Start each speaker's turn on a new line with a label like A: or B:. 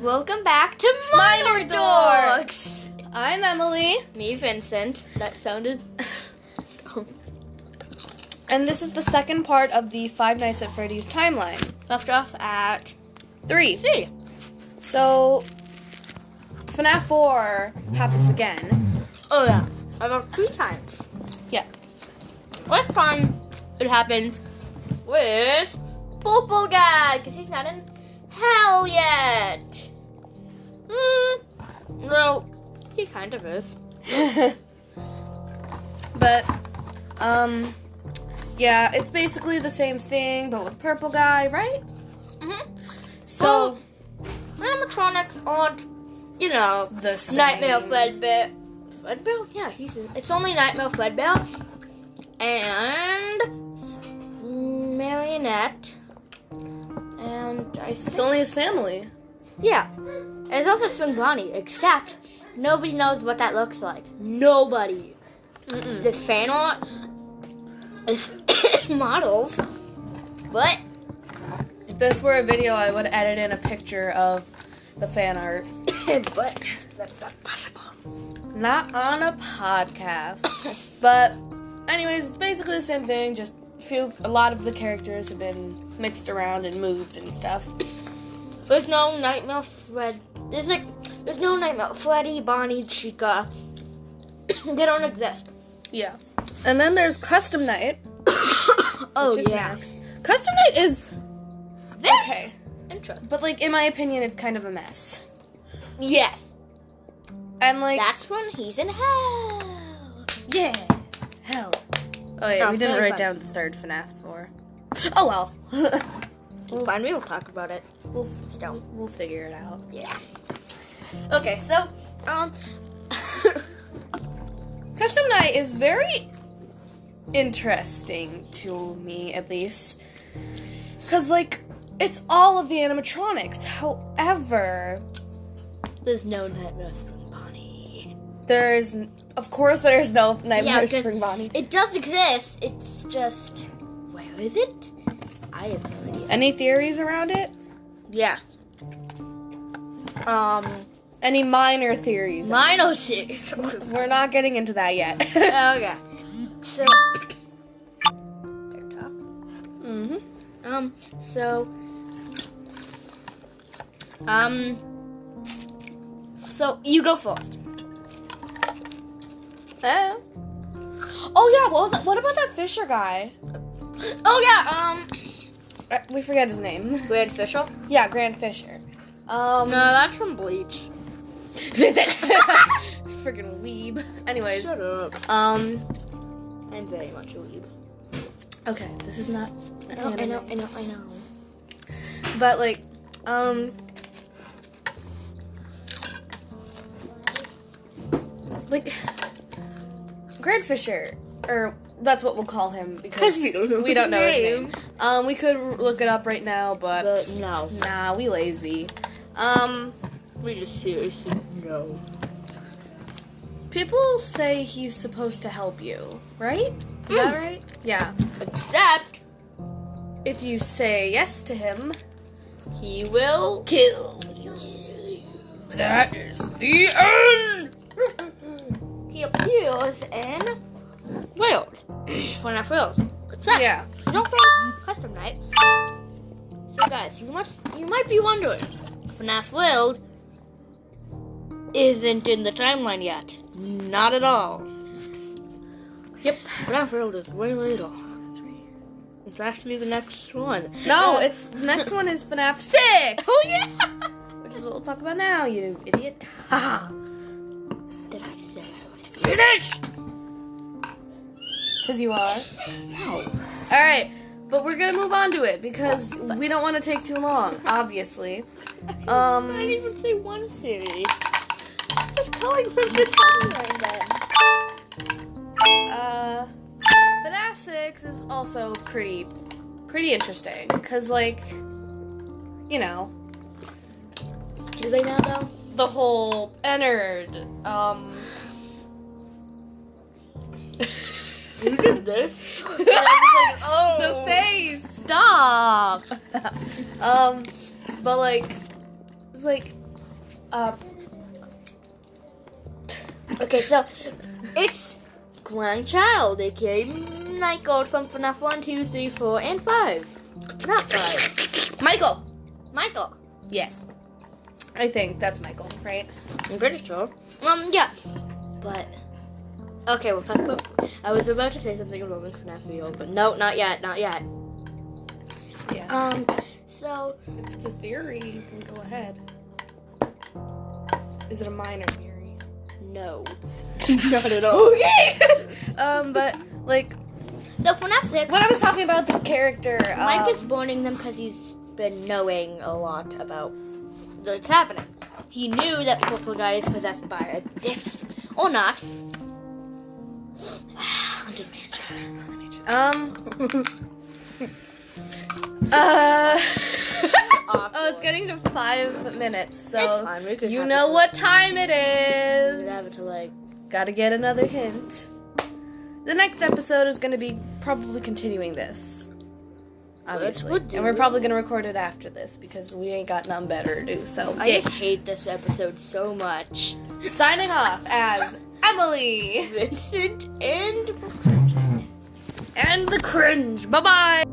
A: Welcome back to Minor,
B: Minor
A: Dorks.
B: I'm Emily,
A: Me, Vincent. That sounded.
B: and this is the second part of the Five Nights at Freddy's timeline.
A: Left off at
B: Three.
A: C.
B: So, FNAF 4 happens again.
A: Oh yeah, about three times.
B: Yeah.
A: First time it happens with Purple Guy because he's not in hell yet. Hmm. Well, he kind of is.
B: but, um, yeah, it's basically the same thing, but with Purple Guy, right?
A: Mm-hmm.
B: So,
A: animatronics aren't, you know,
B: the same.
A: Nightmare Fredbear. Fredbear? Yeah, he's in. It's only Nightmare Fredbear. And. Marionette. And I
B: It's
A: think.
B: only his family.
A: yeah. There's also Swing Bonnie, except nobody knows what that looks like. Nobody.
B: Mm-mm.
A: This fan art is models. But.
B: If this were a video, I would edit in a picture of the fan art.
A: but. That's not possible.
B: Not on a podcast. But, anyways, it's basically the same thing. Just few, a lot of the characters have been mixed around and moved and stuff.
A: There's no Nightmare Fred. There's like, there's no Nightmare Freddy, Bonnie, Chica. they don't exist.
B: Yeah. And then there's Custom Night.
A: oh
B: which is next. Custom Night is
A: This
B: okay,
A: Interesting.
B: but like in my opinion, it's kind of a mess.
A: Yes.
B: And like
A: That's when he's in hell.
B: yeah, hell. Oh yeah,
A: Oh,
B: we didn't
A: very
B: write
A: fun.
B: down the third FNAF four. Oh well,
A: Well, fine, we will talk about it.
B: we'll
A: Still.
B: we'll figure it out.
A: Yeah. Okay, so um
B: Custom Night is very interesting to me, at least. Because, like, it's all of the animatronics. However,
A: there's no Nightmare Spring Bonnie.
B: there's, of course, there's no
A: Yeah,
B: Nightmare
A: because-
B: Spring Bonnie.
A: It does exist. It's just where is it? I have no idea.
B: Any theories around it?
A: Yeah. Um
B: Any minor theories?
A: Mino Chick.
B: We're not getting into that yet.
A: okay. So Bear talk.
B: mm-hmm.
A: Um, so, um, so you go first.
B: Oh. Oh, yeah, what was that? What about that Fisher guy?
A: Oh yeah, um,
B: Uh, We forget his name.
A: Grand Fisher.
B: Yeah, Grand Fisher.
A: Um, no, that's from Bleach.
B: Friggin' weeb. Anyways.
A: Shut up.
B: Um.
A: I'm very much a weeb.
B: Okay, this is not.
A: I know, I know, I know, I know.
B: But like, um. Like, Grand Fisher, or that's what we'll call him because
A: we don't know
B: we
A: his
B: don't know his
A: name.
B: name. Um, we could r- look it up right now, but
A: But no,
B: nah, we lazy. Um,
A: we just seriously no.
B: people say he's supposed to help you, right? Is that
A: Mm.
B: right? Yeah.
A: Except
B: If you say yes to him,
A: he will
B: kill you. That is the end.
A: He appears in World. when I failed. Except
B: Yeah.
A: He's also custom night. So guys, you must you might be wondering, FNAF World isn't in the timeline yet. Not at all.
B: Yep.
A: FNAF World is way later. It's actually the next one.
B: No,
A: Uh,
B: it's the next one is FNAF six,
A: Oh yeah.
B: which is what we'll talk about now. You idiot. Haha.
A: Did I say I was finished?
B: Cause you are.
A: No.
B: All right, but we're gonna move on to it because we don't want to take too long, obviously.
A: I didn't
B: Um.
A: even say one series. It's calling from the timeline then.
B: Uh. FNAF six is also pretty, pretty interesting. Cause like, you know,
A: Do they now though?
B: the whole entered. Um.
A: You did this. oh.
B: the face. Stop. um, but like, it's like up.
A: Okay, so it's grandchild, aka Michael from FNAF 1, 2, 3, 4, and 5. Not 5.
B: Michael.
A: Michael.
B: Yes. I think that's Michael, right?
A: I'm pretty sure. Um, yeah. But. Okay, we'll talk about. I was about to say something involving FNAF Rio, but no, not yet, not yet.
B: Yeah.
A: Um, so.
B: If it's a theory, you can go ahead. Is it a minor theory?
A: No.
B: Not at all. Okay. um, but like
A: No, FNAF 6.
B: what I was talking about, the character. Um,
A: Mike is warning them because he's been knowing a lot about what's happening. He knew that Purple Guy is possessed by a diff or not. Haunted man.
B: Um. uh. oh, it's getting to five minutes,
A: It's
B: so
A: fine, we could
B: you
A: have
B: know
A: it-
B: what time it
A: we could have
B: is.
A: it to like
B: Gotta get another hint. The next episode is gonna be probably continuing this. Obviously.
A: would do.
B: And we're probably gonna record it after this because we ain't got nothing better to do. So
A: I just hate this episode so much.
B: yeah. signing off as Emily
A: Vincent and
B: and the cringe. Bye bye.